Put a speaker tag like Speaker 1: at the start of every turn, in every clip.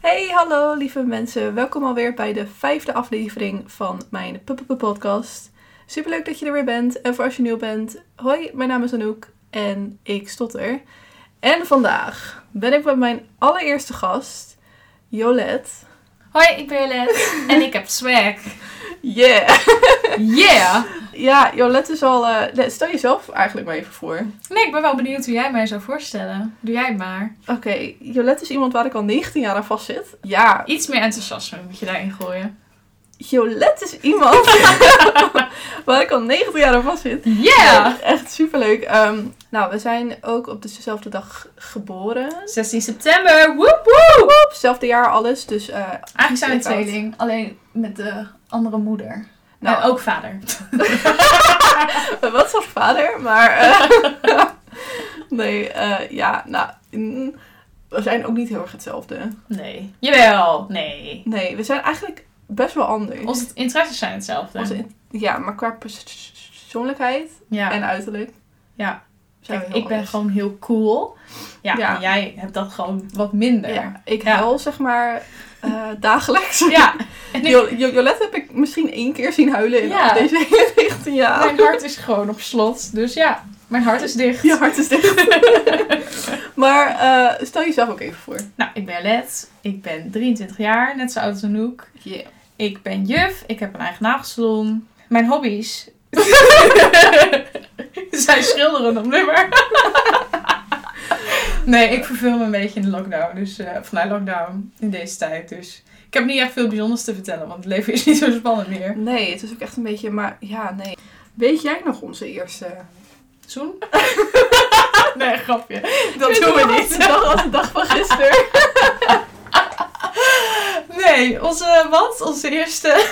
Speaker 1: Hey, hallo lieve mensen. Welkom alweer bij de vijfde aflevering van mijn Puppepe podcast. Superleuk dat je er weer bent. En voor als je nieuw bent, hoi, mijn naam is Anouk en ik stotter. En vandaag ben ik bij mijn allereerste gast, Jolet.
Speaker 2: Hoi, ik ben Jolette en ik heb swag.
Speaker 1: Yeah!
Speaker 2: Yeah!
Speaker 1: Ja, Jolet is al... eh, stel jezelf eigenlijk maar even voor.
Speaker 2: Nee, ik ben wel benieuwd hoe jij mij zou voorstellen. Doe jij het maar.
Speaker 1: Oké, Jolet is iemand waar ik al 19 jaar aan vastzit. Ja,
Speaker 2: Iets meer enthousiasme moet je daarin gooien.
Speaker 1: Jolet is iemand waar ik al 19 jaar aan vastzit.
Speaker 2: Yeah!
Speaker 1: Eh, Echt superleuk. Ehm, nou, we zijn ook op dezelfde dag geboren.
Speaker 2: 16 september, woep woep!
Speaker 1: Op hetzelfde jaar alles. Dus eh,
Speaker 2: Eigenlijk zijn we
Speaker 1: Check out.
Speaker 2: tweeling, alleen met de andere moeder. Nou,
Speaker 1: nou,
Speaker 2: ook vader.
Speaker 1: wat voor vader, maar... eh, nee, eh, ja, nou... mm, we zijn ook niet heel erg hetzelfde.
Speaker 2: Nee. Jawel, nee.
Speaker 1: Nee, we zijn eigenlijk best wel anders.
Speaker 2: Onze interesses zijn hetzelfde.
Speaker 1: Onze in- ja, maar qua pers- persoonlijkheid
Speaker 2: Ja.
Speaker 1: en uiterlijk
Speaker 2: ja.
Speaker 1: zijn
Speaker 2: Kijk,
Speaker 1: we heel
Speaker 2: ik ben
Speaker 1: anders.
Speaker 2: gewoon heel cool. Ja,
Speaker 1: Ja.
Speaker 2: en jij hebt dat gewoon wat minder.
Speaker 1: Ja, ik
Speaker 2: Ja.
Speaker 1: huil, zeg maar, eh, dagelijks.
Speaker 2: Ja. En ik-
Speaker 1: Jo- Jo- Jolette heb ik misschien één keer zien huilen in
Speaker 2: Ja.
Speaker 1: deze hele 19 jaar.
Speaker 2: Mijn hart is gewoon op slot. Dus ja, mijn hart is dicht.
Speaker 1: Je hart is dicht. maar eh, stel jezelf ook even voor.
Speaker 2: Nou, ik ben Let. Ik ben 23 jaar, net zo oud als Anouk.
Speaker 1: Yeah.
Speaker 2: Ik ben juf. Ik heb een eigen nagelsalon. Mijn hobby's zijn schilderen op nummer. nee, ik verveel me een beetje in de lockdown. Dus eh, of na lockdown in deze tijd. Dus ik heb niet echt veel bijzonders te vertellen, want het leven is niet zo spannend meer.
Speaker 1: Nee, het is ook echt een beetje, maar ja, nee. Weet jij nog onze eerste?
Speaker 2: Zoen? nee, grapje. Dat
Speaker 1: Ik
Speaker 2: doen
Speaker 1: weet
Speaker 2: we
Speaker 1: nog,
Speaker 2: niet.
Speaker 1: De dag als de dag van gisteren.
Speaker 2: Nee, onze wat? Onze eerste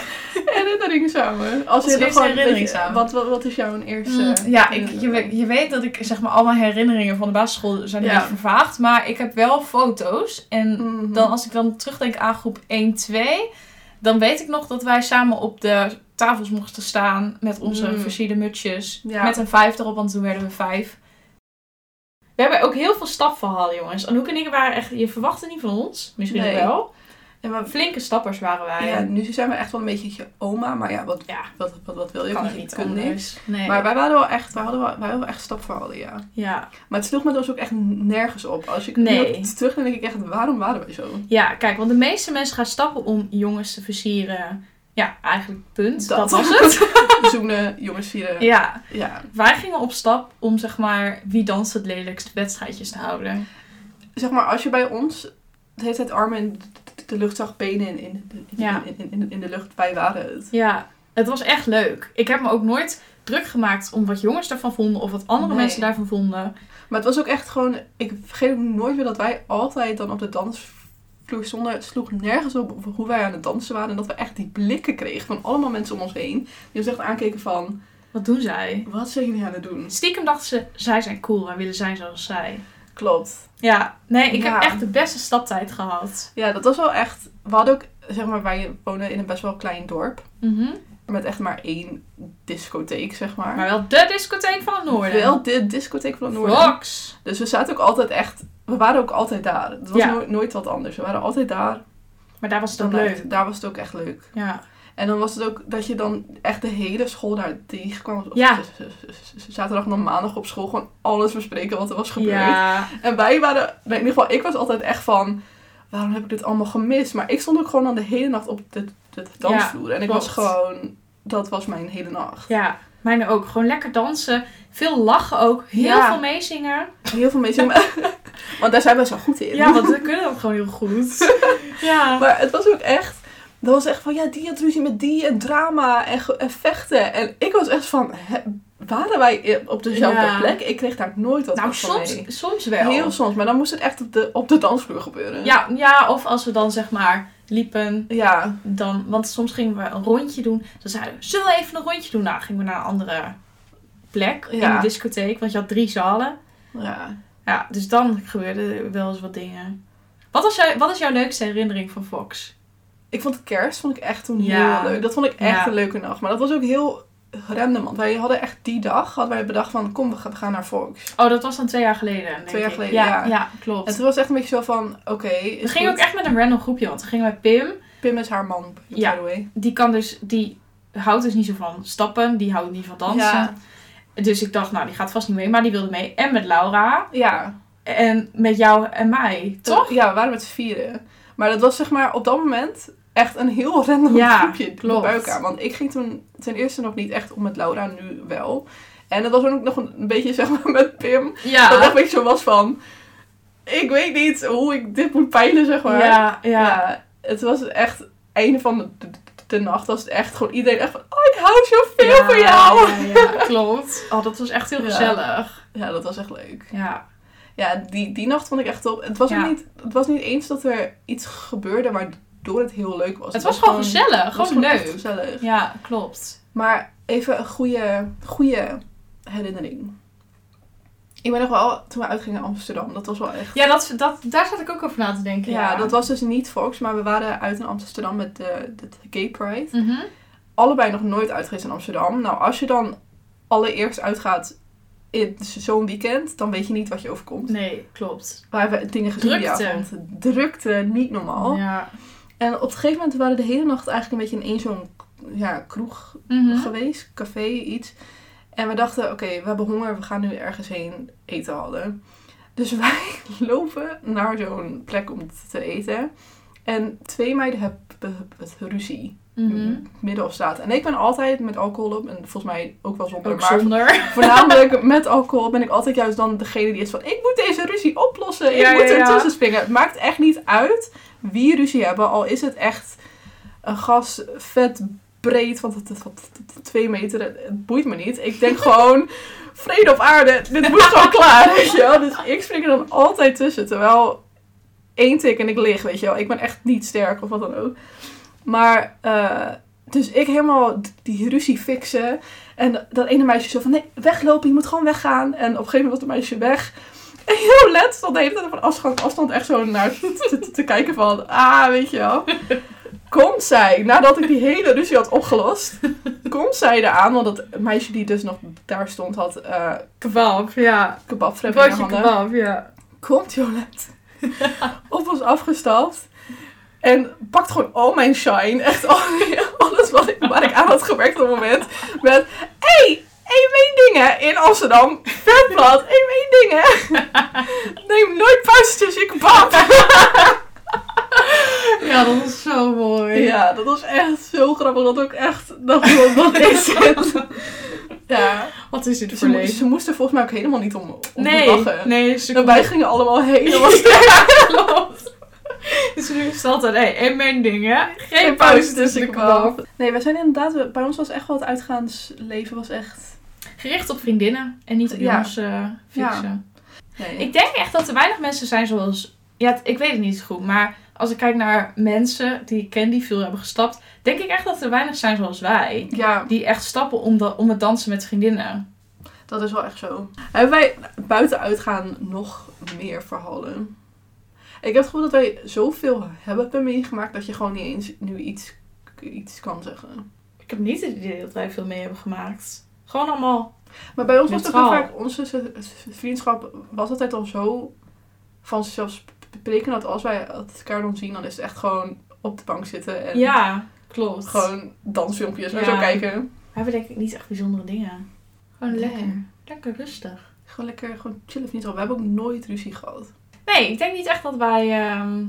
Speaker 1: herinnering samen. Als
Speaker 2: Onze
Speaker 1: je er
Speaker 2: eerste
Speaker 1: gewoon een
Speaker 2: herinnering
Speaker 1: beetje-
Speaker 2: samen.
Speaker 1: Wat, wat, wat is jouw eerste?
Speaker 2: Mm, ja, ik, je,
Speaker 1: herinnering?
Speaker 2: we- je weet dat ik zeg maar al mijn herinneringen van de basisschool zijn een
Speaker 1: Ja.
Speaker 2: beetje vervaagd. Maar ik heb wel foto's. En
Speaker 1: Mhm.
Speaker 2: dan als ik dan terugdenk aan groep 1, 2. Dan weet ik nog dat wij samen op de tafels mochten staan met onze
Speaker 1: Mm.
Speaker 2: versierde mutsjes.
Speaker 1: Ja.
Speaker 2: Met een vijf erop, want toen werden we vijf. We hebben ook heel veel stapverhalen, jongens. Anouk en ik waren echt... Je verwachtte niet van ons. Misschien
Speaker 1: Nee.
Speaker 2: wel.
Speaker 1: Ja, maar-
Speaker 2: Flinke stappers waren wij.
Speaker 1: ja, nu zijn we echt wel een beetje je oma, maar ja, wat,
Speaker 2: Ja,
Speaker 1: wat, wat, wat wil je?
Speaker 2: kan
Speaker 1: Want
Speaker 2: er
Speaker 1: je
Speaker 2: niet
Speaker 1: kunt
Speaker 2: anders.
Speaker 1: niks.
Speaker 2: Nee.
Speaker 1: Maar wij waren wel echt, wij hadden wel, wij hadden wel echt stapverhalen, ja.
Speaker 2: ja.
Speaker 1: Maar het sloeg met ons ook echt nergens op. Als ik
Speaker 2: Nee.
Speaker 1: nu op terug denk ik echt, waarom waren wij zo?
Speaker 2: Ja, kijk, want de meeste mensen gaan stappen om jongens te versieren. Ja, eigenlijk punt. Dat,
Speaker 1: Dat.
Speaker 2: was het.
Speaker 1: Zoenen, jongens vieren. Ja.
Speaker 2: ja, wij gingen op stap om zeg maar wie danst het lelijkst wedstrijdjes te houden.
Speaker 1: Zeg maar, als je bij ons de hele tijd armen in de- de lucht zag, benen in, in, in,
Speaker 2: Ja.
Speaker 1: in, in, in- in de lucht, wij waren het.
Speaker 2: Ja, het was echt leuk. Ik heb me ook nooit druk gemaakt om wat jongens daarvan vonden of wat andere
Speaker 1: Nee.
Speaker 2: mensen daarvan vonden.
Speaker 1: Maar het was ook echt gewoon, ik vergeet ook nooit meer dat wij altijd dan op de dansvloer stonden. Het sloeg nergens op hoe wij aan het dansen waren. En dat we echt die blikken kregen van allemaal mensen om ons heen. Die ons echt aankeken van,
Speaker 2: Wat doen zij?
Speaker 1: wat zijn jullie aan het doen?
Speaker 2: Stiekem dachten ze, zij zijn cool, wij willen zijn zoals zij.
Speaker 1: Klopt.
Speaker 2: Ja, nee, ik
Speaker 1: Ja.
Speaker 2: heb echt de beste staptijd gehad.
Speaker 1: Ja, dat was wel echt. We hadden ook, zeg maar, wij wonen in een best wel klein dorp.
Speaker 2: Mhm.
Speaker 1: Met echt maar één discotheek, zeg maar.
Speaker 2: Maar wel de discotheek van het noorden.
Speaker 1: Wel de discotheek van het noorden.
Speaker 2: Fox.
Speaker 1: Dus we zaten ook altijd echt. We waren ook altijd daar. Het was
Speaker 2: Ja.
Speaker 1: no- nooit wat anders. We waren altijd daar.
Speaker 2: Maar daar was het ook
Speaker 1: Dan
Speaker 2: leuk.
Speaker 1: echt- daar was het ook echt leuk.
Speaker 2: Ja.
Speaker 1: En dan was het ook dat je dan echt de hele school daar tegenkwam. Of
Speaker 2: Ja.
Speaker 1: z- z- z- z- Zaterdag en dan maandag op school gewoon alles bespreken wat er was gebeurd.
Speaker 2: Ja,
Speaker 1: En wij waren, nou, in ieder geval, ik was altijd echt van, waarom heb ik dit allemaal gemist? Maar ik stond ook gewoon dan de hele nacht op de, de dansvloer. en ik was
Speaker 2: klopt.
Speaker 1: gewoon, dat was mijn hele nacht.
Speaker 2: ja, mijne ook. Gewoon lekker dansen. Veel lachen ook. Heel
Speaker 1: Ja.
Speaker 2: veel meezingen.
Speaker 1: Heel veel mensen, want daar zijn we zo goed in.
Speaker 2: Ja, want we kunnen dat gewoon heel goed. Ja.
Speaker 1: Maar het was ook echt, dat was echt van, ja, die had ruzie met die en drama en, ge- en vechten. En ik was echt van, hè, waren wij op dezelfde
Speaker 2: Ja.
Speaker 1: plek? Ik kreeg daar nooit wat
Speaker 2: nou,
Speaker 1: van
Speaker 2: soms,
Speaker 1: mee.
Speaker 2: soms wel.
Speaker 1: Heel soms, maar dan moest het echt op de, op de dansvloer gebeuren.
Speaker 2: ja, ja, of als we dan zeg maar liepen.
Speaker 1: Ja,
Speaker 2: Dan, want soms gingen we een rondje doen. Dan zeiden we, zullen we even een rondje doen? Nou, gingen we naar een andere plek in
Speaker 1: Ja.
Speaker 2: de discotheek. Want je had drie zalen.
Speaker 1: ja.
Speaker 2: Ja, dus dan gebeurden er wel eens wat dingen. Wat, was jou, wat is jouw leukste herinnering van Fox?
Speaker 1: Ik vond kerst vond ik echt toen
Speaker 2: Ja.
Speaker 1: heel leuk. Dat vond ik echt
Speaker 2: Ja.
Speaker 1: een leuke nacht. Maar dat was ook heel random. Wij hadden echt die dag, hadden wij bedacht van, kom, we gaan- we gaan naar Volks.
Speaker 2: Oh, dat was dan twee jaar geleden. denk
Speaker 1: Twee jaar
Speaker 2: ik.
Speaker 1: geleden, ja.
Speaker 2: ja. klopt.
Speaker 1: En toen was het echt een beetje zo van, oké,
Speaker 2: we
Speaker 1: is
Speaker 2: gingen
Speaker 1: goed.
Speaker 2: ook echt met een random groepje, want toen gingen wij Pim.
Speaker 1: Pim is haar man, by
Speaker 2: Ja.
Speaker 1: the way.
Speaker 2: Die kan dus, die houdt dus niet zo van stappen, die houdt niet van dansen. Dus ik dacht, nou, die gaat vast niet mee, maar die wilde mee. En met Laura.
Speaker 1: Ja.
Speaker 2: En met jou en mij,
Speaker 1: Dat-
Speaker 2: toch?
Speaker 1: Ja, we waren met z'n vieren. Maar dat was zeg maar op dat moment echt een heel random
Speaker 2: Ja,
Speaker 1: groepje
Speaker 2: klopt.
Speaker 1: bij elkaar. Want ik ging toen ten eerste nog niet echt om met Laura, nu wel. En dat was ook nog een, een beetje zeg maar met Pim.
Speaker 2: Ja.
Speaker 1: Dat ik een beetje zo was van, ik weet niet hoe ik dit moet peilen, zeg maar.
Speaker 2: Ja, ja.
Speaker 1: Ja, Het was echt, een van de, de, de nacht was het echt gewoon iedereen echt van, oh ik hou zoveel van jou.
Speaker 2: Ja, ja, klopt. Oh, dat was echt heel
Speaker 1: Ja.
Speaker 2: gezellig.
Speaker 1: Ja, dat was echt leuk.
Speaker 2: Ja.
Speaker 1: Ja, die, die nacht vond ik echt top. Het was,
Speaker 2: Ja.
Speaker 1: ook niet, het was niet eens dat er iets gebeurde waardoor het heel leuk was.
Speaker 2: Het was gewoon gezellig,
Speaker 1: het was
Speaker 2: gewoon
Speaker 1: echt
Speaker 2: leuk.
Speaker 1: gezellig.
Speaker 2: Ja, klopt.
Speaker 1: Maar even een goede, goede herinnering. Ik ben nog wel, toen we uitgingen naar Amsterdam, dat was wel echt...
Speaker 2: Ja, dat, dat, daar zat ik ook over na te denken.
Speaker 1: Ja, dat was dus niet Fox, maar we waren uit in Amsterdam met de, de Gay Pride.
Speaker 2: Mhm.
Speaker 1: Allebei nog nooit uit geweest in Amsterdam. Nou, als je dan allereerst uitgaat in zo'n weekend, dan weet je niet wat je overkomt.
Speaker 2: Nee, klopt.
Speaker 1: We hebben dingen gezien die
Speaker 2: Drukte.
Speaker 1: avond. Drukte, niet normaal.
Speaker 2: Ja.
Speaker 1: En op een gegeven moment waren we de hele nacht eigenlijk een beetje in één zo'n ja, kroeg
Speaker 2: Mhm.
Speaker 1: geweest, café, iets. En we dachten, oké, we hebben honger, we gaan nu ergens heen eten halen. Dus wij lopen naar zo'n plek om te eten. En twee meiden hebben het ruzie.
Speaker 2: Mhm.
Speaker 1: Midden op straat. En ik ben altijd met alcohol op. En volgens mij ook wel zonder.
Speaker 2: Ook
Speaker 1: maar
Speaker 2: zonder.
Speaker 1: voornamelijk met alcohol ben ik altijd juist dan degene die is van... Ik moet deze ruzie oplossen. Ik
Speaker 2: Ja,
Speaker 1: moet
Speaker 2: ja, ja.
Speaker 1: ertussen springen. Het maakt echt niet uit wie ruzie hebben. Al is het echt een gas vet breed van t- t- t- t- twee meter. Het het boeit me niet. Ik denk gewoon... Vrede op aarde. Dit moet gewoon klaar. Weet je wel? Dus ik spring er dan altijd tussen. Terwijl één tik en ik lig. Weet je wel? Ik ben echt niet sterk of wat dan ook. Maar... eh, dus ik helemaal d- die ruzie fixen. En dat ene meisje zo van, nee, weglopen, je moet gewoon weggaan. En op een gegeven moment was het meisje weg. En heel let stond de hele tijd op een afstand, afstand echt zo naar te, te- te kijken van, ah, weet je wel. Komt zij, nadat ik die hele ruzie had opgelost, komt zij eraan. Want dat meisje die dus nog daar stond had eh
Speaker 2: Kebab, ja.
Speaker 1: kebabfrep in haar
Speaker 2: Broodje
Speaker 1: handen
Speaker 2: kebab, ja.
Speaker 1: komt Jolette op ons afgestapt. En pakt gewoon al mijn shine. Echt al, alles wat ik, waar ik aan had gewerkt op het moment. Met, hey, één mijn dingen in Amsterdam. Vetblad, één mijn dingen. Neem nooit pauzes, ik bap.
Speaker 2: Ja, dat was zo mooi.
Speaker 1: Ja, dat was echt zo grappig. Dat ook echt, dacht ik, wat- wat is dit? Ja,
Speaker 2: Wat is dit
Speaker 1: ze,
Speaker 2: voor
Speaker 1: mo-
Speaker 2: leven?
Speaker 1: ze moesten volgens mij ook helemaal niet om, om te
Speaker 2: Nee,
Speaker 1: lachen.
Speaker 2: nee, ze
Speaker 1: En wij gingen allemaal helemaal
Speaker 2: klopt. Dus nu is het altijd, hé, en mijn ding, hè? Geen pauze tussen de kebab.
Speaker 1: Nee, wij zijn inderdaad, we- bij ons was echt wel het uitgaansleven was echt.
Speaker 2: Gericht op vriendinnen en niet op
Speaker 1: Ja.
Speaker 2: jongens eh, fixen.
Speaker 1: Nee.
Speaker 2: Ik denk echt dat er weinig mensen zijn zoals... Ja, ik weet het niet goed, maar als ik kijk naar mensen die ik ken die veel hebben gestapt... denk ik echt dat er weinig zijn zoals wij.
Speaker 1: ja,
Speaker 2: Die echt stappen om, da- om het dansen met vriendinnen.
Speaker 1: dat is wel echt zo. Hebben wij buiten uitgaan nog meer verhalen? Ik heb het gevoel dat wij zoveel hebben meegemaakt dat je gewoon niet eens nu iets, iets kan zeggen.
Speaker 2: Ik heb niet het idee dat wij veel mee hebben gemaakt. Gewoon allemaal...
Speaker 1: Maar bij ons was het ook heel
Speaker 2: Neutraal.
Speaker 1: vaak, onze z- z- vriendschap was altijd al zo vanzelfsprekend dat als wij elkaar dan zien, dan is het echt gewoon op de bank zitten en
Speaker 2: Ja, klopt.
Speaker 1: gewoon dansfilmpjes en
Speaker 2: Ja.
Speaker 1: zo kijken.
Speaker 2: We hebben denk ik niet echt bijzondere dingen. Gewoon
Speaker 1: Nee.
Speaker 2: lekker. Lekker rustig.
Speaker 1: Gewoon lekker, gewoon chillen vriendschap. We hebben ook nooit ruzie gehad.
Speaker 2: Nee, ik denk niet echt dat wij... ehm,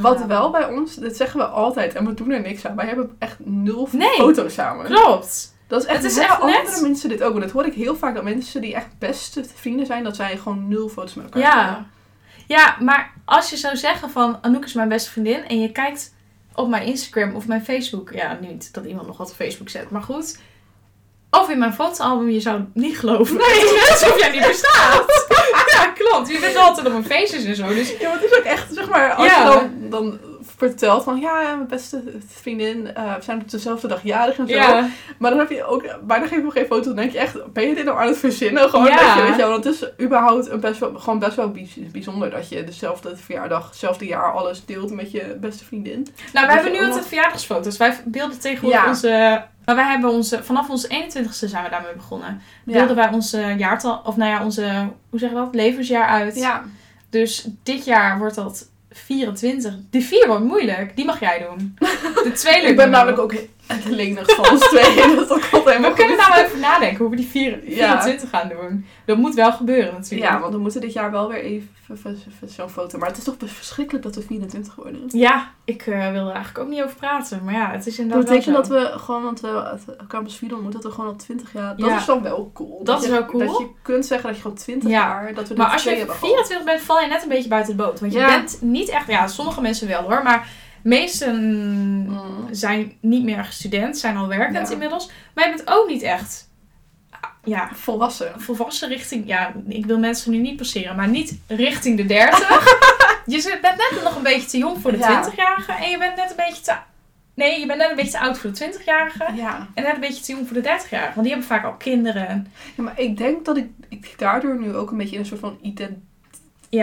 Speaker 1: Wat
Speaker 2: Ja.
Speaker 1: wel bij ons, dat zeggen we altijd en we doen er niks aan. Wij hebben echt nul
Speaker 2: Nee.
Speaker 1: foto's samen.
Speaker 2: Klopt.
Speaker 1: Dat is echt,
Speaker 2: Het is
Speaker 1: zeggen
Speaker 2: echt net-
Speaker 1: andere mensen dit ook. Want dat hoor ik heel vaak dat mensen die echt beste vrienden zijn, dat zij gewoon nul foto's met elkaar hebben.
Speaker 2: Ja. Ja, maar als je zou zeggen van Anouk is mijn beste vriendin en je kijkt op mijn Instagram of mijn Facebook. Ja, niet dat iemand nog wat op Facebook zet, maar goed. Of in mijn fotoalbum, je zou het niet geloven.
Speaker 1: Nee.
Speaker 2: Het is net alsof jij niet bestaat. ja, klopt. Je bent altijd op mijn feestjes en zo. Dus
Speaker 1: Ja, want het is ook echt, zeg maar, als
Speaker 2: Ja.
Speaker 1: je dan, dan vertelt van ja, mijn beste vriendin, eh, we zijn op dezelfde dag jarig en zo.
Speaker 2: Ja.
Speaker 1: Maar dan heb je ook bijna geen, geen foto. Dan denk je echt, ben je dit nou aan het verzinnen? Gewoon
Speaker 2: Ja.
Speaker 1: dat je, weet je wel, want het is überhaupt een best wel, gewoon best wel bijz- bijzonder dat je dezelfde verjaardag, hetzelfde jaar alles deelt met je beste vriendin.
Speaker 2: Nou, wij
Speaker 1: je
Speaker 2: hebben nu
Speaker 1: allemaal-
Speaker 2: altijd verjaardagsfoto's. Wij beelden tegenwoordig
Speaker 1: Ja.
Speaker 2: onze... Maar wij hebben onze... Vanaf onze 21ste zijn we daarmee begonnen. Beelden wij onze jaartal... Of nou ja, onze... Hoe zeg je dat? Levensjaar uit.
Speaker 1: ja.
Speaker 2: Dus dit jaar wordt dat 24. Die 4 wordt moeilijk. Die mag jij doen. De tweede.
Speaker 1: Ik ben namelijk ook lenig van ons tweeën. Dat komt helemaal
Speaker 2: We kunnen
Speaker 1: goed.
Speaker 2: daar wel even nadenken hoe we die 4
Speaker 1: Ja.
Speaker 2: 24 gaan doen. Dat moet wel gebeuren natuurlijk.
Speaker 1: Ja, want we moeten dit jaar wel weer even even- even zo'n foto. Maar het is toch verschrikkelijk dat we 24 worden.
Speaker 2: Ja, ik eh, wil er eigenlijk ook niet over praten. Maar ja, het is
Speaker 1: Dat
Speaker 2: inderdaad
Speaker 1: betekent
Speaker 2: wel
Speaker 1: dat
Speaker 2: zo.
Speaker 1: we gewoon, want we het Campus Fidel moeten, dat we gewoon al 20 jaar. Dat
Speaker 2: Ja.
Speaker 1: is dan wel cool. Dat,
Speaker 2: is
Speaker 1: je-
Speaker 2: wel cool.
Speaker 1: Dat je kunt zeggen dat je gewoon 20
Speaker 2: Ja.
Speaker 1: jaar. Dat we
Speaker 2: Maar
Speaker 1: dit
Speaker 2: als
Speaker 1: twee
Speaker 2: je
Speaker 1: hebben gehad.
Speaker 2: 24 bent, val je net een beetje buiten de boot. Want je
Speaker 1: Ja.
Speaker 2: bent niet echt... Ja, sommige mensen wel hoor. Maar meesten
Speaker 1: Mm.
Speaker 2: zijn niet meer student. Zijn al werkend
Speaker 1: Ja.
Speaker 2: inmiddels. Maar je bent ook niet echt... ah, Ja,
Speaker 1: Volwassen.
Speaker 2: volwassen richting... Ja, ik wil mensen nu niet passeren, maar niet richting de 30. je zit- bent net nog een beetje te jong voor de
Speaker 1: Ja.
Speaker 2: 20-jarige. En je bent net een beetje te... Nee, je bent net een beetje te oud voor de 20-jarige.
Speaker 1: Ja.
Speaker 2: En net een beetje te jong voor de 30-jarige. Want die hebben vaak al kinderen.
Speaker 1: ja, maar ik denk dat ik, ik daardoor nu ook een beetje in een soort van
Speaker 2: Ja,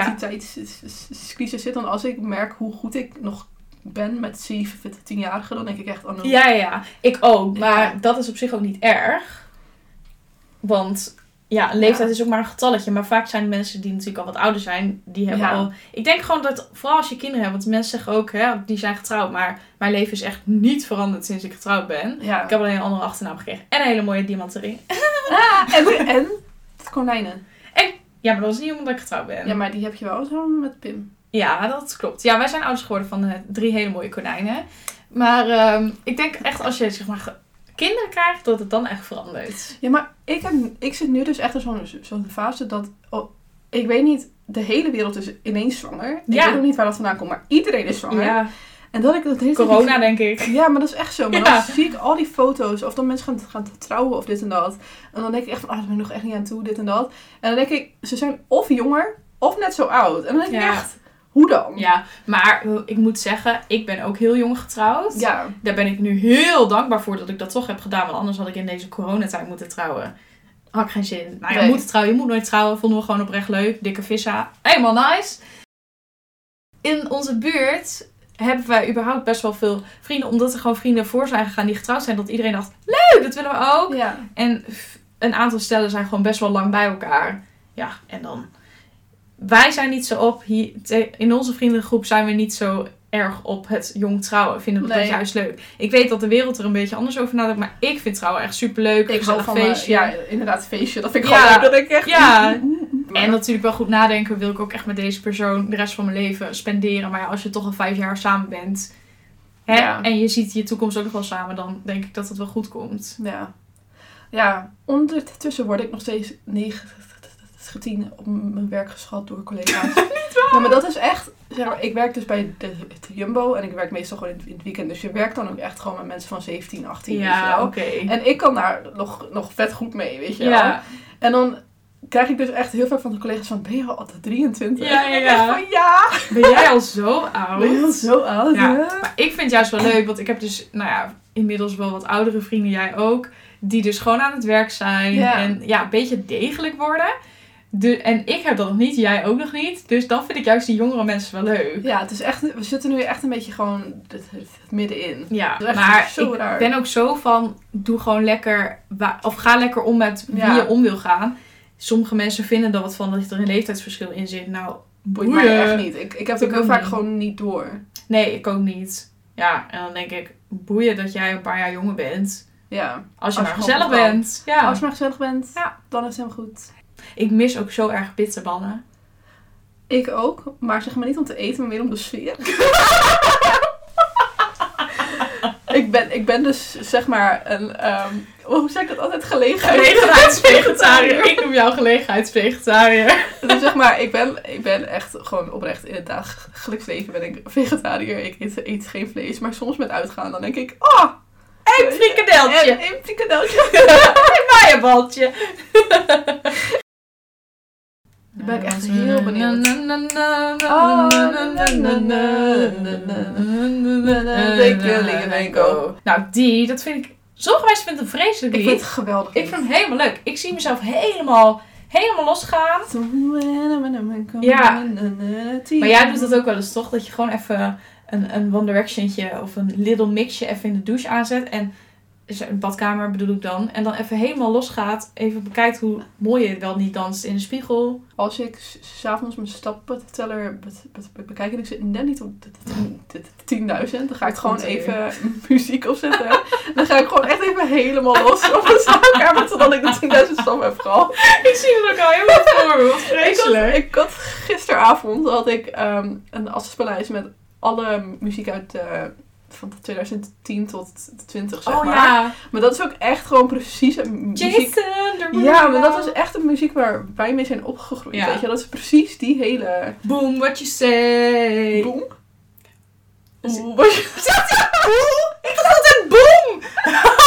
Speaker 1: identiteitscrisis zit. Want als ik merk hoe goed ik nog ben met 7, 10-jarigen, dan denk ik echt aan een
Speaker 2: ja, ja, ja. Ik ook. Maar
Speaker 1: Ja.
Speaker 2: dat is op zich ook niet erg. Want ja, leeftijd is ook maar een getalletje. Maar vaak zijn mensen die natuurlijk al wat ouder zijn, die hebben
Speaker 1: Ja.
Speaker 2: al... Ik denk gewoon dat, vooral als je kinderen hebt, want mensen zeggen ook, hè, die zijn getrouwd. Maar mijn leven is echt niet veranderd sinds ik getrouwd ben.
Speaker 1: Ja.
Speaker 2: Ik heb alleen een andere achternaam gekregen. En een hele mooie diamantenring.
Speaker 1: Ah, En, en konijnen.
Speaker 2: Ja, maar dat was niet omdat ik getrouwd ben.
Speaker 1: Ja, maar die heb je wel zo met Pim.
Speaker 2: Ja, dat klopt. Ja, wij zijn ouders geworden van eh, drie hele mooie konijnen. Maar ehm, ik denk echt als je zeg maar, ge- kinderen krijgt, dat het dan echt verandert.
Speaker 1: Ja, maar ik, heb, ik zit nu dus echt in zo'n zo'n fase dat... oh, ik weet niet, de hele wereld is ineens zwanger. Ik
Speaker 2: Ja.
Speaker 1: weet ook niet waar dat vandaan komt, maar iedereen is zwanger.
Speaker 2: Ja,
Speaker 1: En dat ik dat hele tijd-
Speaker 2: corona denk ik.
Speaker 1: Ja, maar dat is echt zo. Maar
Speaker 2: Ja.
Speaker 1: dan zie ik al die foto's. Of dan mensen gaan, gaan trouwen of dit en dat. En dan denk ik echt van, ah, daar ben ik nog echt niet aan toe, dit en dat. En dan denk ik, ze zijn of jonger of net zo oud. En dan denk ik
Speaker 2: Ja.
Speaker 1: echt, hoe dan?
Speaker 2: Ja, maar eh, ik moet zeggen, ik ben ook heel jong getrouwd.
Speaker 1: Ja.
Speaker 2: Daar ben ik nu heel dankbaar voor dat ik dat toch heb gedaan. Want anders had ik in deze coronatijd moeten trouwen. Had ik geen zin. Nou ja,
Speaker 1: Nee.
Speaker 2: moeten trouwen, je moet nooit trouwen. Vonden we gewoon oprecht leuk. Dikke vissa. Helemaal nice. In onze buurt hebben wij überhaupt best wel veel vrienden. Omdat er gewoon vrienden voor zijn gegaan die getrouwd zijn. Dat iedereen dacht, leuk, dat willen we ook.
Speaker 1: ja.
Speaker 2: En f- een aantal stellen zijn gewoon best wel lang bij elkaar. Ja, en dan. Wij zijn niet zo op. Hier, te- in onze vriendengroep zijn we niet zo erg op het jong trouwen. Vinden we
Speaker 1: Nee.
Speaker 2: dat juist leuk. Ik weet dat de wereld er een beetje anders over nadenkt. Maar ik vind trouwen echt superleuk.
Speaker 1: Ik hou
Speaker 2: gezellig
Speaker 1: van
Speaker 2: feestje.
Speaker 1: feestje. ja, inderdaad, feestje. Dat vind ik
Speaker 2: Ja.
Speaker 1: gewoon leuk. Dat ik echt...
Speaker 2: Ja. En
Speaker 1: En dat...
Speaker 2: natuurlijk wel goed nadenken. Wil ik ook echt met deze persoon de rest van mijn leven spenderen. Maar ja, als je toch al vijf jaar samen bent. Hè,
Speaker 1: Ja.
Speaker 2: En je ziet je toekomst ook nog wel samen. Dan denk ik dat het wel goed komt.
Speaker 1: Ja. Ja, ondertussen word ik nog steeds 19 op mijn werk geschat door collega's. Niet waar! Ja, maar dat is echt... Zeg maar, ik werk dus bij de, de Jumbo en ik werk meestal gewoon in, het- in het weekend. Dus je werkt dan ook echt gewoon met mensen van 17, 18, weet je
Speaker 2: Ja,
Speaker 1: wel.
Speaker 2: oké.
Speaker 1: En ik kan daar nog, nog vet goed mee, weet je wel.
Speaker 2: Ja.
Speaker 1: En dan krijg ik dus echt heel vaak van de collega's van... Ben je al altijd 23?
Speaker 2: Ja, ja,
Speaker 1: En ik denk
Speaker 2: ja.
Speaker 1: van, ja!
Speaker 2: Ben jij al zo oud?
Speaker 1: Ben je al zo oud,
Speaker 2: Ja.
Speaker 1: hè?
Speaker 2: Maar ik vind het juist wel leuk, want ik heb dus, nou ja, inmiddels wel wat oudere vrienden, jij ook, die dus gewoon aan het werk zijn
Speaker 1: Ja.
Speaker 2: en ja, een beetje degelijk worden. De, en ik heb dat nog niet, jij ook nog niet. Dus dan vind ik juist die jongere mensen wel leuk.
Speaker 1: Ja, het is echt, we zitten nu echt een beetje gewoon het, het, het middenin.
Speaker 2: Ja,
Speaker 1: Dat is echt
Speaker 2: maar
Speaker 1: zo
Speaker 2: ik
Speaker 1: raar.
Speaker 2: ben ook zo van, doe gewoon lekker, wa- of ga lekker om met wie
Speaker 1: Ja.
Speaker 2: je om wil gaan. Sommige mensen vinden er wat van dat er een leeftijdsverschil in zit. Nou,
Speaker 1: Boeit mij
Speaker 2: boeien.
Speaker 1: echt niet. Ik, ik heb het
Speaker 2: Ik
Speaker 1: ook heel
Speaker 2: ook
Speaker 1: vaak
Speaker 2: niet.
Speaker 1: gewoon niet door.
Speaker 2: Nee, ik ook niet. Ja, en dan denk ik, boeien dat jij een paar jaar jonger bent.
Speaker 1: Ja.
Speaker 2: Als je
Speaker 1: Als
Speaker 2: maar
Speaker 1: je
Speaker 2: gezellig
Speaker 1: gewoon kan.
Speaker 2: bent. Ja.
Speaker 1: Als je maar gezellig bent,
Speaker 2: Ja.
Speaker 1: dan is het helemaal goed.
Speaker 2: Ik mis ook zo erg bitterballen.
Speaker 1: Ik ook, maar zeg maar niet om te eten, maar meer om de sfeer. ik, ben, ik ben dus zeg maar een, ehm, hoe zeg ik dat altijd, gelegen.
Speaker 2: Gelegenheidsvegetariër. ik noem jou gelegenheidsvegetariër.
Speaker 1: Dus zeg maar, ik ben, ik ben echt gewoon oprecht in het dagelijks leven ben ik vegetariër. Ik eet, eet geen vlees, maar soms met uitgaan dan denk ik, ah, oh,
Speaker 2: Een frikandeltje.
Speaker 1: en een frikadeltje.
Speaker 2: Een maaienbaltje.
Speaker 1: ben ik echt heel benieuwd. Tikkelingen en go.
Speaker 2: Oh, Nou, die, dat vind ik... Sommige mensen vinden het een vreselijk
Speaker 1: Ik vind
Speaker 2: lied.
Speaker 1: het geweldig.
Speaker 2: Ik vind het helemaal leuk. Ik zie mezelf helemaal, helemaal losgaan. Ja. Maar jij doet dat ook wel eens, toch? Dat je gewoon even een, een One Direction'tje of een Little Mixje even in de douche aanzet. En is er een badkamer bedoel ik dan. En dan even helemaal losgaat. Even bekijkt hoe mooi je wel niet danst in de spiegel.
Speaker 1: Als ik s- s'avonds mijn stappenteller be- be- be- bekijk en ik zit net niet op de- de- de- de 10.000, dan ga ik
Speaker 2: Dat
Speaker 1: gewoon
Speaker 2: komt weer.
Speaker 1: even muziek opzetten. Dan ga ik gewoon echt even helemaal los op mijn slaapkamer totdat ik de 10.000 stappen heb gehad.
Speaker 2: Ik zie het ook al heel goed voor me. Wat vreselijk.
Speaker 1: Ik had gisteravond had ik ehm, een afspeellijst met alle muziek uit eh, van 2010 tot 20 zeg
Speaker 2: oh
Speaker 1: maar.
Speaker 2: ja.
Speaker 1: Maar dat is ook echt gewoon precies een muziek.
Speaker 2: Jason Derulo.
Speaker 1: Ja, maar dat is echt een muziek waar wij mee zijn opgegroeid.
Speaker 2: Ja.
Speaker 1: Weet je, dat is precies die hele
Speaker 2: Boom, what you say.
Speaker 1: boom.
Speaker 2: Dus-
Speaker 1: Oeh, was je-
Speaker 2: Zegt hij boom? Ik dacht altijd boom.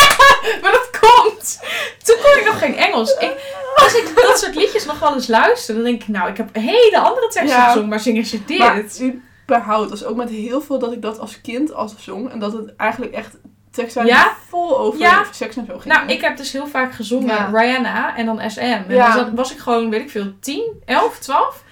Speaker 2: maar dat komt. Toen kon ik nog geen Engels. Ik, als ik dat soort liedjes nog wel eens luister, dan denk ik, nou, ik heb hele andere teksten
Speaker 1: Ja.
Speaker 2: gezongen, maar zingen ze dit?
Speaker 1: Maar überhaupt, dat is ook met heel veel dat ik dat als kind als zong. En dat het eigenlijk echt tekst zijn
Speaker 2: Ja?
Speaker 1: vol over
Speaker 2: Ja.
Speaker 1: seks en zo ging.
Speaker 2: nou, ik heb dus heel vaak gezongen
Speaker 1: Ja.
Speaker 2: Rihanna en dan SM. En
Speaker 1: Ja.
Speaker 2: dan zat- was ik gewoon, weet ik veel, 10, 11, 12.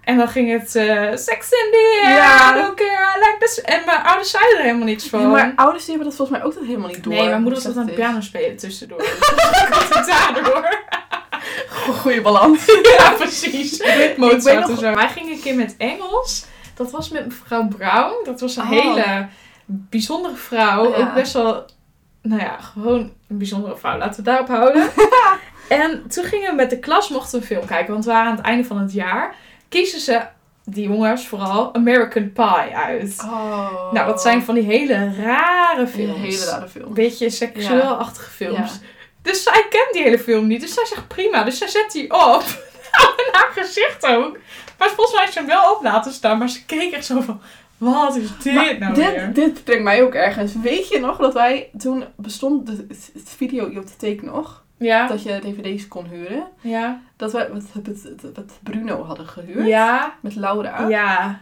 Speaker 2: En dan ging het eh Sex in the air,
Speaker 1: Ja.
Speaker 2: I don't care, I like this. En mijn ouders zeiden er helemaal niks van.
Speaker 1: Nee, maar ouders die hebben dat volgens mij ook dat helemaal niet door. dus
Speaker 2: nee, mijn moeder
Speaker 1: hoe
Speaker 2: zat aan het
Speaker 1: slecht
Speaker 2: piano spelen tussendoor. Dus ik had het daardoor.
Speaker 1: is. Goeie balans.
Speaker 2: Ja, precies.
Speaker 1: Mozart
Speaker 2: Ik weet nog-
Speaker 1: en zo.
Speaker 2: Wij gingen een keer met Engels. Dat was met mevrouw Brown. Dat was een
Speaker 1: Oh.
Speaker 2: hele bijzondere vrouw.
Speaker 1: Ja.
Speaker 2: Ook best wel, nou ja, gewoon een bijzondere vrouw. Laten we het daarop houden. en toen gingen we met de klas, mochten we een film kijken. Want we waren aan het einde van het jaar. Kiezen ze, die jongens vooral, American Pie uit.
Speaker 1: Oh.
Speaker 2: Nou, dat zijn van die hele rare films.
Speaker 1: Hele rare film.
Speaker 2: Een beetje seksueel-achtige films.
Speaker 1: Ja.
Speaker 2: Dus zij kent die hele film niet. Dus zij zegt prima. Dus zij zet die op. Nou, in haar gezicht ook. Maar volgens mij heeft ze hem wel op laten staan. Maar ze keek echt zo van... Wat is dit
Speaker 1: Maar
Speaker 2: nou weer?
Speaker 1: dit, dit brengt mij ook ergens. Weet je nog dat wij toen bestond de- het, het video op de take nog?
Speaker 2: Ja,
Speaker 1: Dat je dvd's kon huren.
Speaker 2: ja,
Speaker 1: Dat wij met, met, met- met Bruno hadden gehuurd.
Speaker 2: ja,
Speaker 1: Met Laura.
Speaker 2: ja.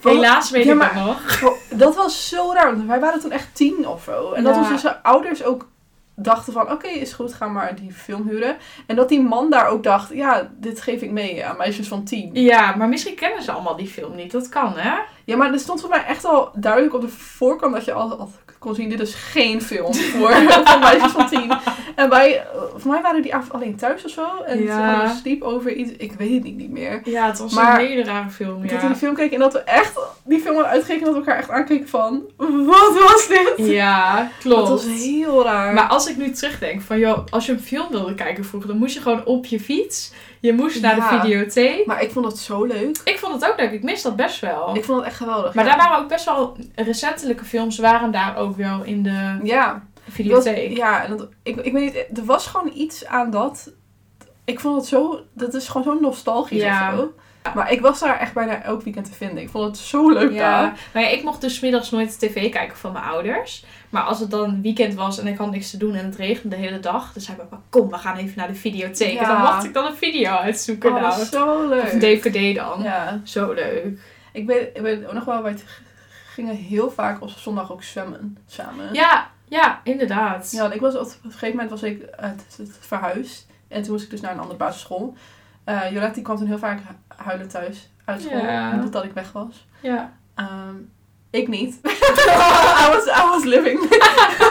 Speaker 1: Wat-
Speaker 2: Helaas weet
Speaker 1: Ja,
Speaker 2: ik
Speaker 1: maar-
Speaker 2: dat nog.
Speaker 1: Dat was zo raar. Want wij waren toen echt tien of zo. En dat
Speaker 2: Ja.
Speaker 1: onze z- ouders ook dachten van... Oké, is goed. Ga maar die film huren. En dat die man daar ook dacht... Ja, dit geef ik mee aan meisjes van tien.
Speaker 2: Ja, maar misschien kennen ze allemaal die film niet. Dat kan, hè?
Speaker 1: Ja, maar er stond voor mij echt al duidelijk op de voorkant dat je al, al kon zien, dit is geen film voor van meisjes van tien. En wij, eh, voor mij waren die avond alleen thuis of zo. En
Speaker 2: Ja.
Speaker 1: ze hadden sleep over iets, ik weet het niet, niet meer.
Speaker 2: Ja, het was
Speaker 1: Maar-
Speaker 2: een hele rare film,
Speaker 1: Dat we die
Speaker 2: ja.
Speaker 1: film keken en dat we echt die film hadden uitgekeken en dat we elkaar echt aankeken van, wat was dit?
Speaker 2: Ja, klopt.
Speaker 1: Dat was heel raar.
Speaker 2: Maar als ik nu terugdenk van, joh, als je een film wilde kijken vroeger, dan moest je gewoon op je fiets. Je moest naar
Speaker 1: Ja.
Speaker 2: de videotheek.
Speaker 1: maar ik vond dat zo leuk.
Speaker 2: Ik vond het ook leuk. Ik mis dat best wel.
Speaker 1: Ik vond het echt geweldig.
Speaker 2: Oh. maar
Speaker 1: ja.
Speaker 2: daar waren ook best wel recentelijke films waren daar ook wel in de
Speaker 1: Ja, dat,
Speaker 2: videotheek.
Speaker 1: ja en dat, ik, ik weet niet, er was gewoon iets aan dat... Ik vond het zo... Dat is gewoon zo nostalgisch
Speaker 2: Ja.
Speaker 1: of zo. Maar ik was daar echt bijna elk weekend te vinden. Ik vond het zo leuk
Speaker 2: Ja.
Speaker 1: daar.
Speaker 2: Maar ja, ik mocht dus 's middags nooit tv kijken van mijn ouders. Maar als het dan weekend was en ik had niks te doen en het regende de hele dag, dan zei mijn papa, kom, we gaan even naar de videotheek.
Speaker 1: Ja.
Speaker 2: En dan mocht ik dan een video uitzoeken.
Speaker 1: Oh, dat
Speaker 2: nou.
Speaker 1: is zo
Speaker 2: Of
Speaker 1: leuk.
Speaker 2: een DVD dan.
Speaker 1: Ja.
Speaker 2: Zo leuk.
Speaker 1: Ik weet, ik weet ook nog wel, wij t- gingen heel vaak op zondag ook zwemmen samen.
Speaker 2: Ja, ja, inderdaad.
Speaker 1: Ja, want ik was op een gegeven moment was ik uit het, het verhuisd. En toen moest ik dus naar een andere basisschool. Eh Jolette die kwam toen heel vaak hu- huilen thuis uit school.
Speaker 2: Ja.
Speaker 1: Omdat ik weg was.
Speaker 2: ja.
Speaker 1: Ehm, ik niet. I, was, I was living.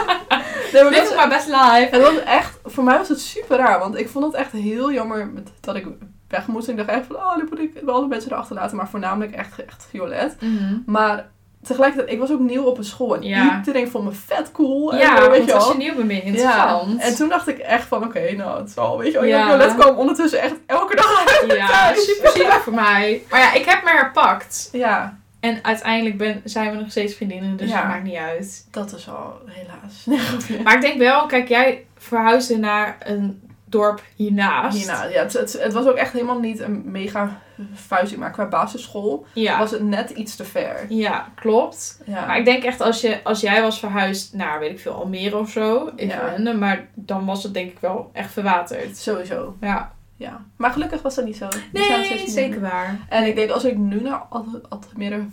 Speaker 1: nee, maar dat,
Speaker 2: Dit is mijn best live.
Speaker 1: het was echt, voor mij was het super raar. Want ik vond het echt heel jammer met, dat ik weg moest. En ik dacht echt van, oh, nu moet ik alle mensen erachter laten. Maar voornamelijk echt, echt Violet.
Speaker 2: Mhm.
Speaker 1: Maar tegelijkertijd, ik was ook nieuw op een school. En
Speaker 2: Ja.
Speaker 1: iedereen vond me vet cool. En,
Speaker 2: Ja,
Speaker 1: zo,
Speaker 2: want
Speaker 1: weet je
Speaker 2: als je
Speaker 1: wel.
Speaker 2: nieuw bent, ben je interessant.
Speaker 1: en toen dacht ik echt van, oké, nou, het zal, weet je wel.
Speaker 2: Ja.
Speaker 1: Violet kwam ondertussen echt elke dag uit.
Speaker 2: Ja,
Speaker 1: thuis.
Speaker 2: super zielig voor mij. Maar ja, ik heb me herpakt.
Speaker 1: Ja,
Speaker 2: En uiteindelijk ben, zijn we nog steeds vriendinnen, dus
Speaker 1: Ja.
Speaker 2: dat maakt niet uit.
Speaker 1: dat is al helaas. Nee, grapje.
Speaker 2: Maar ik denk wel, kijk, jij verhuisde naar een dorp hiernaast.
Speaker 1: Hierna, ja, het, het, het was ook echt helemaal niet een mega vuizing, maar qua basisschool
Speaker 2: Ja.
Speaker 1: was het net iets te ver.
Speaker 2: ja, klopt. Maar
Speaker 1: Ja,
Speaker 2: ik denk echt, als, je, als jij was verhuisd naar, weet ik veel, Almere of zo, even
Speaker 1: Ja.
Speaker 2: random, maar dan was het denk ik wel echt verwaterd.
Speaker 1: sowieso.
Speaker 2: Ja,
Speaker 1: Ja. Maar gelukkig was dat niet zo. Die zijn nog steeds
Speaker 2: Nee,
Speaker 1: niet
Speaker 2: zeker
Speaker 1: minder.
Speaker 2: waar.
Speaker 1: En ik denk als ik nu naar Al- Almere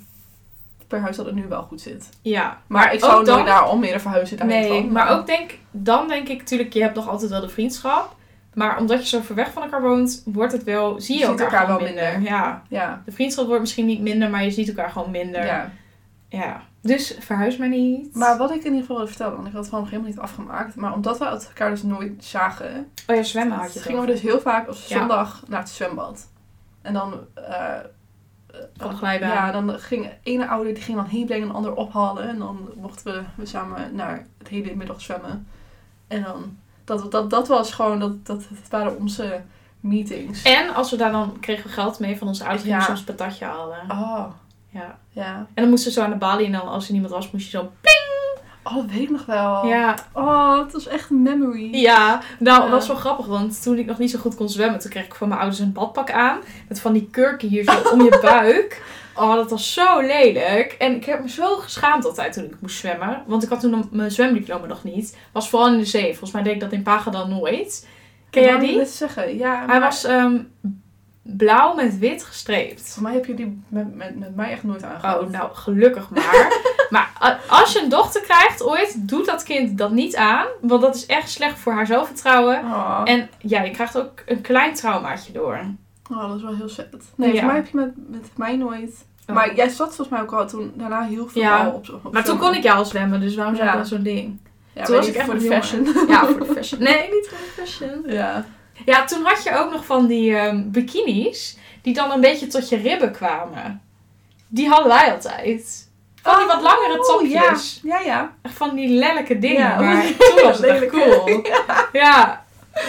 Speaker 1: per huis dat het nu wel goed zit.
Speaker 2: Ja,
Speaker 1: Maar, ik zou
Speaker 2: ook dan-
Speaker 1: nooit naar Almere verhuizen. Daar niet
Speaker 2: Nee,
Speaker 1: van.
Speaker 2: maar ook denk, dan denk ik natuurlijk, je hebt nog altijd wel de vriendschap. Maar omdat je zo ver weg van elkaar woont, wordt het wel, zie je,
Speaker 1: Je ziet
Speaker 2: elkaar,
Speaker 1: elkaar
Speaker 2: gewoon
Speaker 1: wel
Speaker 2: minder.
Speaker 1: minder.
Speaker 2: Ja,
Speaker 1: Ja.
Speaker 2: de vriendschap wordt misschien niet minder, maar je ziet elkaar gewoon minder.
Speaker 1: ja.
Speaker 2: Ja. Dus verhuis maar niet.
Speaker 1: Maar wat ik in ieder geval wilde vertellen, want ik had het gewoon helemaal niet afgemaakt. Maar omdat we elkaar dus nooit zagen,
Speaker 2: oh ja, zwemmen had je het
Speaker 1: gingen we
Speaker 2: over.
Speaker 1: dus heel vaak op
Speaker 2: Ja.
Speaker 1: zondag naar het zwembad. En dan... eh, eh,
Speaker 2: Op de glijbaan.
Speaker 1: Ja, dan ging ene ouder die ging dan heen brengen en de ander ophalen. En dan mochten we, we samen naar het hele middag zwemmen. En dan, dat, dat, dat was gewoon, dat, dat, dat waren onze meetings.
Speaker 2: En als we daar dan kregen we geld mee van onze ouders, gingen we
Speaker 1: Ja.
Speaker 2: soms patatje halen.
Speaker 1: Oh,
Speaker 2: Ja.
Speaker 1: ja.
Speaker 2: En dan moesten ze zo aan de balie en dan als er niemand was, moest je zo ping!
Speaker 1: Oh, dat weet ik nog wel.
Speaker 2: Ja,
Speaker 1: Oh, het was echt een memory.
Speaker 2: Ja, nou,
Speaker 1: Ja.
Speaker 2: dat was wel grappig, want toen ik nog niet zo goed kon zwemmen, toen kreeg ik van mijn ouders een badpak aan. Met van die kurken hier zo om je buik. Oh, dat was zo lelijk. En ik heb me zo geschaamd altijd toen ik moest zwemmen. Want ik had toen nog mijn zwemdiploma nog niet. Was vooral in de zee. Volgens mij deed ik dat in Paga dan nooit. Ken jij
Speaker 1: Wat wil ik
Speaker 2: die?
Speaker 1: net zeggen, ja.
Speaker 2: Hij
Speaker 1: maar
Speaker 2: was ehm, blauw met wit gestreept.
Speaker 1: Voor mij heb je die met, met, met mij echt nooit aangehad.
Speaker 2: Oh, nou, gelukkig maar. maar a- als je een dochter krijgt ooit, doet dat kind dat niet aan. Want dat is echt slecht voor haar zelfvertrouwen.
Speaker 1: Oh.
Speaker 2: En ja, je krijgt ook een klein traumaatje door.
Speaker 1: Oh, dat is wel heel vet. Nee,
Speaker 2: Ja.
Speaker 1: voor mij heb je met, met mij nooit... Maar jij zat volgens mij ook al toen daarna heel veel
Speaker 2: Ja.
Speaker 1: al op, op
Speaker 2: Maar toen
Speaker 1: zwemmen.
Speaker 2: kon ik jou al zwemmen, dus waarom zou ik
Speaker 1: Ja.
Speaker 2: dan zo'n ding?
Speaker 1: Ja,
Speaker 2: toen
Speaker 1: weet
Speaker 2: was
Speaker 1: ik
Speaker 2: ik echt
Speaker 1: voor de
Speaker 2: nog
Speaker 1: fashion.
Speaker 2: Ja, voor de fashion. Nee, niet voor de fashion.
Speaker 1: Ja.
Speaker 2: Ja, toen had je ook nog van die ehm, bikinis, die dan een beetje tot je ribben kwamen. Die hadden wij altijd. Van die wat langere topjes.
Speaker 1: Oh, Ja, ja. ja.
Speaker 2: Echt Van die lelijke dingen,
Speaker 1: Ja,
Speaker 2: maar
Speaker 1: wat-
Speaker 2: toen was het echt
Speaker 1: lelijke.
Speaker 2: cool. Ja.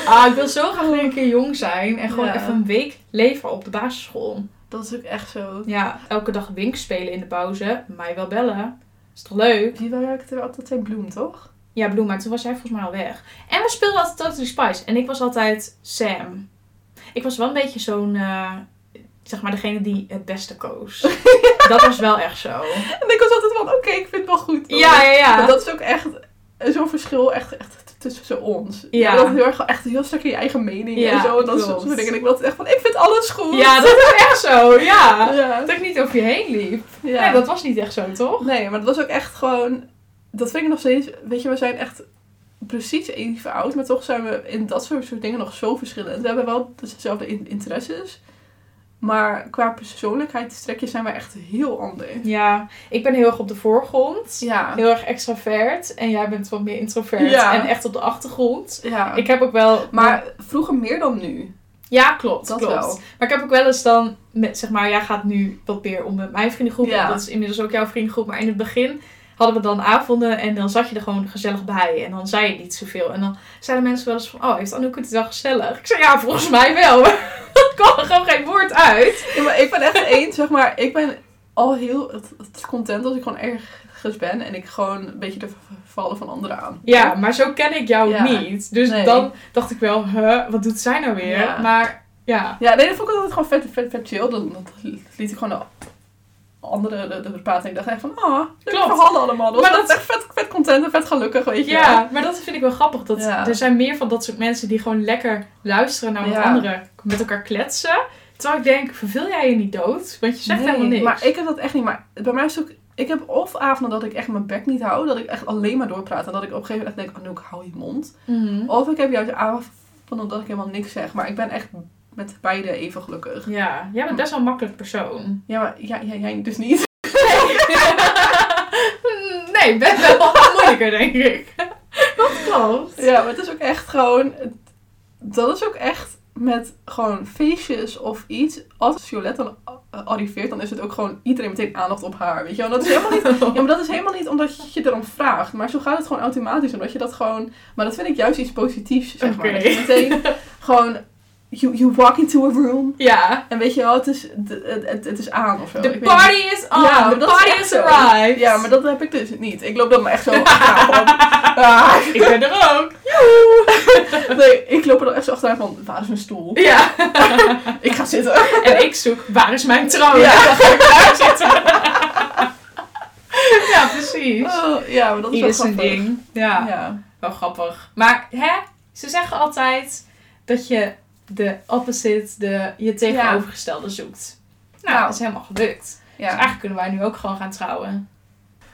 Speaker 2: Ah, ik wil zo graag weer een keer jong zijn en gewoon
Speaker 1: Ja.
Speaker 2: even een week leven op de basisschool.
Speaker 1: Dat is ook echt zo.
Speaker 2: Ja, elke dag wink spelen in de pauze. Mij wel bellen. Is toch leuk?
Speaker 1: Die werkte altijd zijn bloem, toch?
Speaker 2: Ja, Bloem, maar toen was jij volgens mij al weg. En we speelden altijd Totally Spice. En ik was altijd Sam. Ik was wel een beetje zo'n... eh, zeg maar, degene die het beste koos. Dat was wel echt zo.
Speaker 1: En ik was altijd van, oké, ik vind het wel goed. hoor.
Speaker 2: Ja, ja,
Speaker 1: Maar
Speaker 2: ja.
Speaker 1: dat is ook echt eh, zo'n verschil echt, echt t- tussen ons.
Speaker 2: Ja.
Speaker 1: Je bent heel erg, echt heel sterk in je eigen mening
Speaker 2: Ja,
Speaker 1: en zo. En dat
Speaker 2: klopt.
Speaker 1: soort dingen. En ik was echt van, ik vind alles goed.
Speaker 2: Ja, dat was echt zo. Ja.
Speaker 1: ja.
Speaker 2: Dat ik niet over je heen liep.
Speaker 1: Ja.
Speaker 2: Nee, dat was niet echt zo, toch?
Speaker 1: Nee, maar dat was ook echt gewoon... Dat vind ik nog steeds... Weet je, we zijn echt precies even oud. Maar toch zijn we in dat soort, soort dingen nog zo verschillend. We hebben wel dus dezelfde in- interesses. Maar qua persoonlijkheidstrekjes zijn we echt heel anders.
Speaker 2: Ja. Ik ben heel erg op de voorgrond.
Speaker 1: Ja.
Speaker 2: Heel erg extravert. En jij bent wat meer introvert.
Speaker 1: Ja.
Speaker 2: En echt op de achtergrond.
Speaker 1: ja.
Speaker 2: Ik heb ook wel...
Speaker 1: maar vroeger meer dan nu.
Speaker 2: Ja, klopt.
Speaker 1: Dat
Speaker 2: klopt.
Speaker 1: wel.
Speaker 2: Maar ik heb ook wel eens dan, met, zeg maar, jij gaat nu wat meer om met mijn vriendengroep.
Speaker 1: Ja.
Speaker 2: Dat is inmiddels ook jouw vriendengroep. Maar in het begin hadden we dan avonden en dan zat je er gewoon gezellig bij. En dan zei je niet zoveel. En dan zeiden mensen wel eens van, oh, heeft Anouk het wel gezellig? Ik zei, ja, volgens mij wel. Maar dat kwam er gewoon geen woord uit.
Speaker 1: Ja, maar ik ben echt één, zeg maar. Ik ben al heel het, het content als ik gewoon ergens ben. En ik gewoon een beetje de v- vallen van anderen aan.
Speaker 2: Ja, maar zo ken ik jou
Speaker 1: Ja.
Speaker 2: niet. Dus
Speaker 1: Nee.
Speaker 2: dan dacht ik wel, huh, wat doet zij nou weer?
Speaker 1: Ja.
Speaker 2: Maar ja.
Speaker 1: Ja, nee, dat vond ik altijd gewoon vet, vet, vet chill. Dan, dan liet ik gewoon de anderen de, de praten. En ik dacht echt van, ah, leuke
Speaker 2: Klopt.
Speaker 1: verhalen allemaal. Dat was
Speaker 2: Maar
Speaker 1: maar dat echt vet, vet content en vet gelukkig, weet je
Speaker 2: Ja,
Speaker 1: wel.
Speaker 2: maar dat vind ik wel grappig. Dat
Speaker 1: Ja.
Speaker 2: Er zijn meer van dat soort mensen die gewoon lekker luisteren naar wat
Speaker 1: Ja.
Speaker 2: anderen met elkaar kletsen. Terwijl ik denk, verveel jij je niet dood? Want je zegt
Speaker 1: Nee,
Speaker 2: helemaal niks.
Speaker 1: Maar ik heb dat echt niet. Maar bij mij is het ook... Ik heb of avonden dat ik echt mijn bek niet hou. Dat ik echt alleen maar doorpraat. En dat ik op een gegeven moment echt denk, Anouk, hou je mond.
Speaker 2: Mhm.
Speaker 1: Of ik heb juist avonden dat ik helemaal niks zeg. Maar ik ben echt met beide even gelukkig.
Speaker 2: Ja, jij bent best wel een makkelijk persoon.
Speaker 1: Ja, maar ja, ja, jij dus niet.
Speaker 2: nee, ik ben wel wat moeilijker, denk ik. Dat klopt.
Speaker 1: Ja, maar het is ook echt gewoon. Dat is ook echt met gewoon feestjes of iets. Als Violette dan eh, arriveert, dan is het ook gewoon iedereen meteen aandacht op haar. Weet je wel? En Dat is helemaal niet, ja, maar dat is helemaal niet omdat je erom vraagt. Maar zo gaat het gewoon automatisch. Omdat je dat gewoon. Maar dat vind ik juist iets positiefs. Zeg maar.
Speaker 2: Oké.
Speaker 1: Dat je meteen gewoon. You, you walk into a room.
Speaker 2: Ja.
Speaker 1: En weet je wel, het is, het, het, het is aan of zo. Ik
Speaker 2: The
Speaker 1: weet
Speaker 2: party is on.
Speaker 1: Ja, maar
Speaker 2: The
Speaker 1: dat is
Speaker 2: party
Speaker 1: echt
Speaker 2: is
Speaker 1: zo.
Speaker 2: arrived.
Speaker 1: niet. Ja, maar dat heb ik dus niet. Ik loop dan maar echt zo. achteraan op. Ah.
Speaker 2: Ik ben er ook.
Speaker 1: Nee, ik loop er dan echt zo achteraan van, waar is mijn stoel?
Speaker 2: Ja.
Speaker 1: Ik ga zitten. Oh,
Speaker 2: En ik zoek, waar is mijn troon?
Speaker 1: Ja.
Speaker 2: Dan ga ik daar zitten. ja, precies.
Speaker 1: Oh, ja, maar dat is
Speaker 2: Ieder
Speaker 1: wel
Speaker 2: zijn
Speaker 1: grappig.
Speaker 2: ding. Ja,
Speaker 1: Ja.
Speaker 2: wel grappig. Maar hè, ze zeggen altijd dat je de opposite, de je tegenovergestelde zoekt. Nou,
Speaker 3: Nou.
Speaker 2: dat is helemaal gelukt. Dus
Speaker 3: Ja.
Speaker 2: eigenlijk kunnen wij nu ook gewoon gaan trouwen.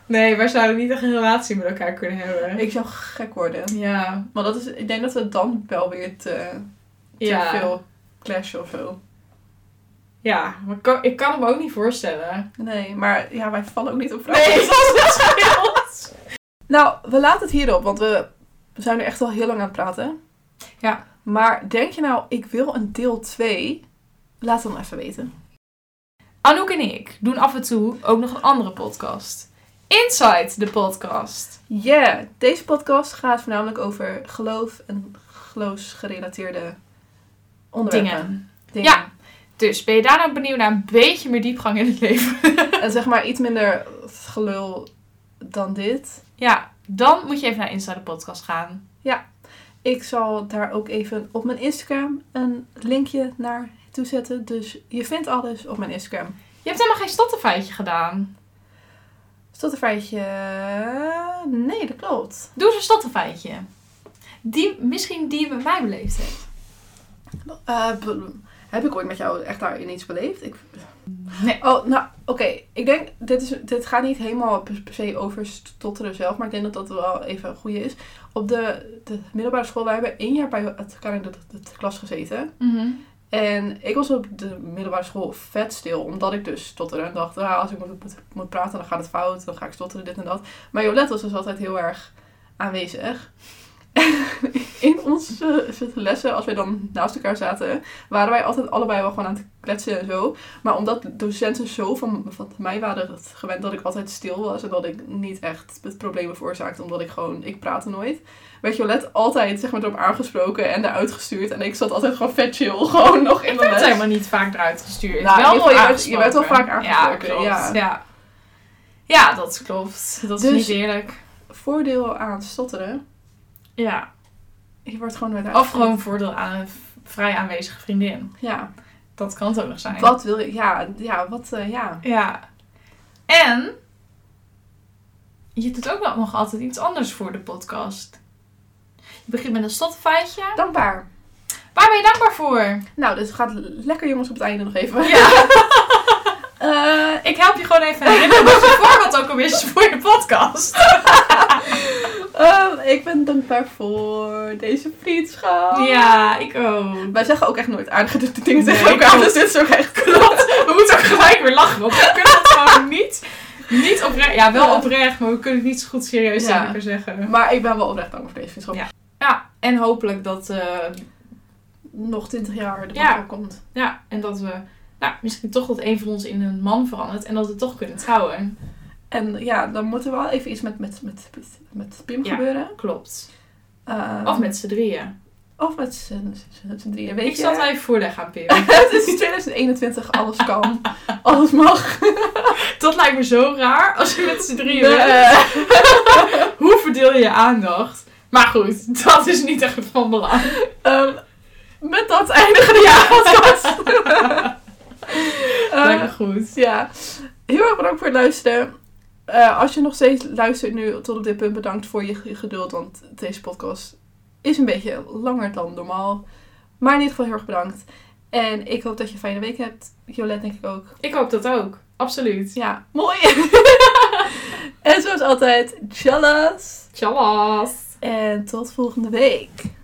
Speaker 2: Nee, wij zouden niet echt een relatie met elkaar kunnen hebben.
Speaker 1: Ik zou gek worden.
Speaker 2: Ja,
Speaker 1: Maar dat is, ik denk dat we dan wel weer te, te
Speaker 2: ja.
Speaker 1: veel clashen of zo.
Speaker 2: Ja, maar ik kan, ik kan me ook niet voorstellen.
Speaker 1: Nee, maar ja, wij vallen ook niet op vrouwen.
Speaker 2: Nee, dat is het scheelt.
Speaker 1: Nou, we laten het hierop, want we zijn er echt al heel lang aan het praten.
Speaker 2: Ja.
Speaker 1: Maar denk je nou, ik wil een deel 2? Laat het dan even weten.
Speaker 2: Anouk en ik doen af en toe ook nog een andere podcast. Inside de podcast.
Speaker 1: Yeah, deze podcast gaat voornamelijk over geloof en geloofsgerelateerde onderwerpen.
Speaker 2: Dingen.
Speaker 1: Dingen.
Speaker 2: Ja. Dus ben je daar nou benieuwd naar een beetje meer diepgang in het leven?
Speaker 1: En zeg maar iets minder gelul dan dit.
Speaker 2: ja, dan moet je even naar Inside de podcast gaan.
Speaker 1: Ik zal daar ook even op mijn Instagram een linkje naar toezetten. Dus je vindt alles op mijn Instagram.
Speaker 2: Je hebt helemaal geen stottenfeitje gedaan.
Speaker 1: Tot een feitje. Nee, dat klopt.
Speaker 2: Doe eens een stottenfeitje. Die, misschien die je met mij beleefd hebt.
Speaker 1: Eh, b- heb ik ooit met jou echt daarin iets beleefd? Ik...
Speaker 2: Nee.
Speaker 1: Oh, nou, oké. Ik denk, dit, is, dit gaat niet helemaal per per se over stotteren zelf, maar ik denk dat dat wel even een goede is. Op de, de middelbare school, wij hebben één jaar bij elkaar in de, de- de klas gezeten. En ik was op de middelbare school vet stil, omdat ik dus stotteren. En dacht, ah, als ik moet, moet, moet praten, dan gaat het fout, dan ga ik stotteren, dit en dat. Maar Jolette was dus altijd heel erg aanwezig. In onze lessen, als we dan naast elkaar zaten, waren wij altijd allebei wel gewoon aan het kletsen en zo. Maar omdat docenten zo van, van mij waren gewend dat ik altijd stil was en dat ik niet echt het problemen veroorzaakte, omdat ik gewoon, ik praatte nooit, werd Jolette altijd zeg maar erop aangesproken en eruit gestuurd. En ik zat altijd gewoon vet chill, gewoon nog in
Speaker 2: Ik
Speaker 1: de
Speaker 2: werd
Speaker 1: les.
Speaker 2: helemaal niet vaak eruit gestuurd.
Speaker 1: Nou,
Speaker 2: wel
Speaker 1: in ieder geval,
Speaker 2: mooi
Speaker 1: je werd- je werd wel vaak aangesproken,
Speaker 2: Ja, klopt.
Speaker 1: ja.
Speaker 2: Ja. Ja. ja, dat klopt. Dat is
Speaker 1: Dus-
Speaker 2: niet eerlijk.
Speaker 1: Voordeel aan stotteren,
Speaker 2: Ja.
Speaker 1: je wordt gewoon weer
Speaker 2: Of gewoon voordeel aan een v- vrij aanwezige vriendin.
Speaker 1: Ja,
Speaker 2: Dat kan het ook nog zijn.
Speaker 1: Wat wil je? Ja, ja wat, eh, ja.
Speaker 2: Ja. En je doet ook wel nog altijd iets anders voor de podcast. Je begint met een stotfeitje.
Speaker 1: Dankbaar.
Speaker 2: Waar ben je dankbaar voor?
Speaker 1: Nou, dus het gaat lekker jongens op het einde nog even.
Speaker 2: Ja,
Speaker 1: Eh,
Speaker 2: ik help je gewoon even herinneren wat je voorbeeld ook alweer is voor je podcast.
Speaker 1: ehm, ik ben dankbaar voor deze vriendschap.
Speaker 2: Ja, ik ook.
Speaker 1: Wij zeggen ook echt nooit aardige d- d- dingen
Speaker 2: Nee,
Speaker 1: tegen elkaar,
Speaker 2: klopt.
Speaker 1: dus dit is ook echt
Speaker 2: Klopt. We moeten ook gelijk weer lachen, want we kunnen het gewoon niet, niet oprecht. Ja, wel
Speaker 1: Ja.
Speaker 2: oprecht, maar we kunnen het niet zo goed serieus
Speaker 1: Ja.
Speaker 2: tegen elkaar zeggen.
Speaker 1: Maar ik ben wel oprecht dankbaar voor deze vriendschap.
Speaker 2: Ja. Ja, en hopelijk dat, eh,
Speaker 1: Nog 20 jaar de
Speaker 2: Ja.
Speaker 1: ja. komt.
Speaker 2: ja, en dat we nou, misschien toch dat een van ons in een man verandert en dat we toch kunnen trouwen.
Speaker 1: En ja, dan moet er wel even iets met, met, met, met, met Pim
Speaker 2: Ja.
Speaker 1: gebeuren.
Speaker 2: Klopt.
Speaker 1: Ehm,
Speaker 2: Of met z'n drieën.
Speaker 1: Of met z'n z'n- z'n drieën. Weet
Speaker 2: Ik
Speaker 1: je,
Speaker 2: zal het wel even voorleggen aan Pim.
Speaker 1: het is 2021, alles kan. alles mag.
Speaker 2: dat lijkt me zo raar als je met z'n drieën bent.
Speaker 1: Eh,
Speaker 2: Hoe verdeel je je aandacht? Maar goed, dat is niet echt van belang.
Speaker 1: Ehm, met dat eindigen de jaarpodcast. Eh,
Speaker 2: Lijkt me goed.
Speaker 1: ja, heel erg bedankt voor het luisteren. Eh, als je nog steeds luistert nu tot op dit punt, bedankt voor je ge- geduld. Want deze podcast is een beetje langer dan normaal. Maar in ieder geval heel erg bedankt. En ik hoop dat je een fijne week hebt. Jolette denk ik ook.
Speaker 2: Ik hoop dat ook. Absoluut.
Speaker 1: Ja, mooi. en zoals altijd, jealous.
Speaker 2: Tjallas!
Speaker 1: En tot volgende week.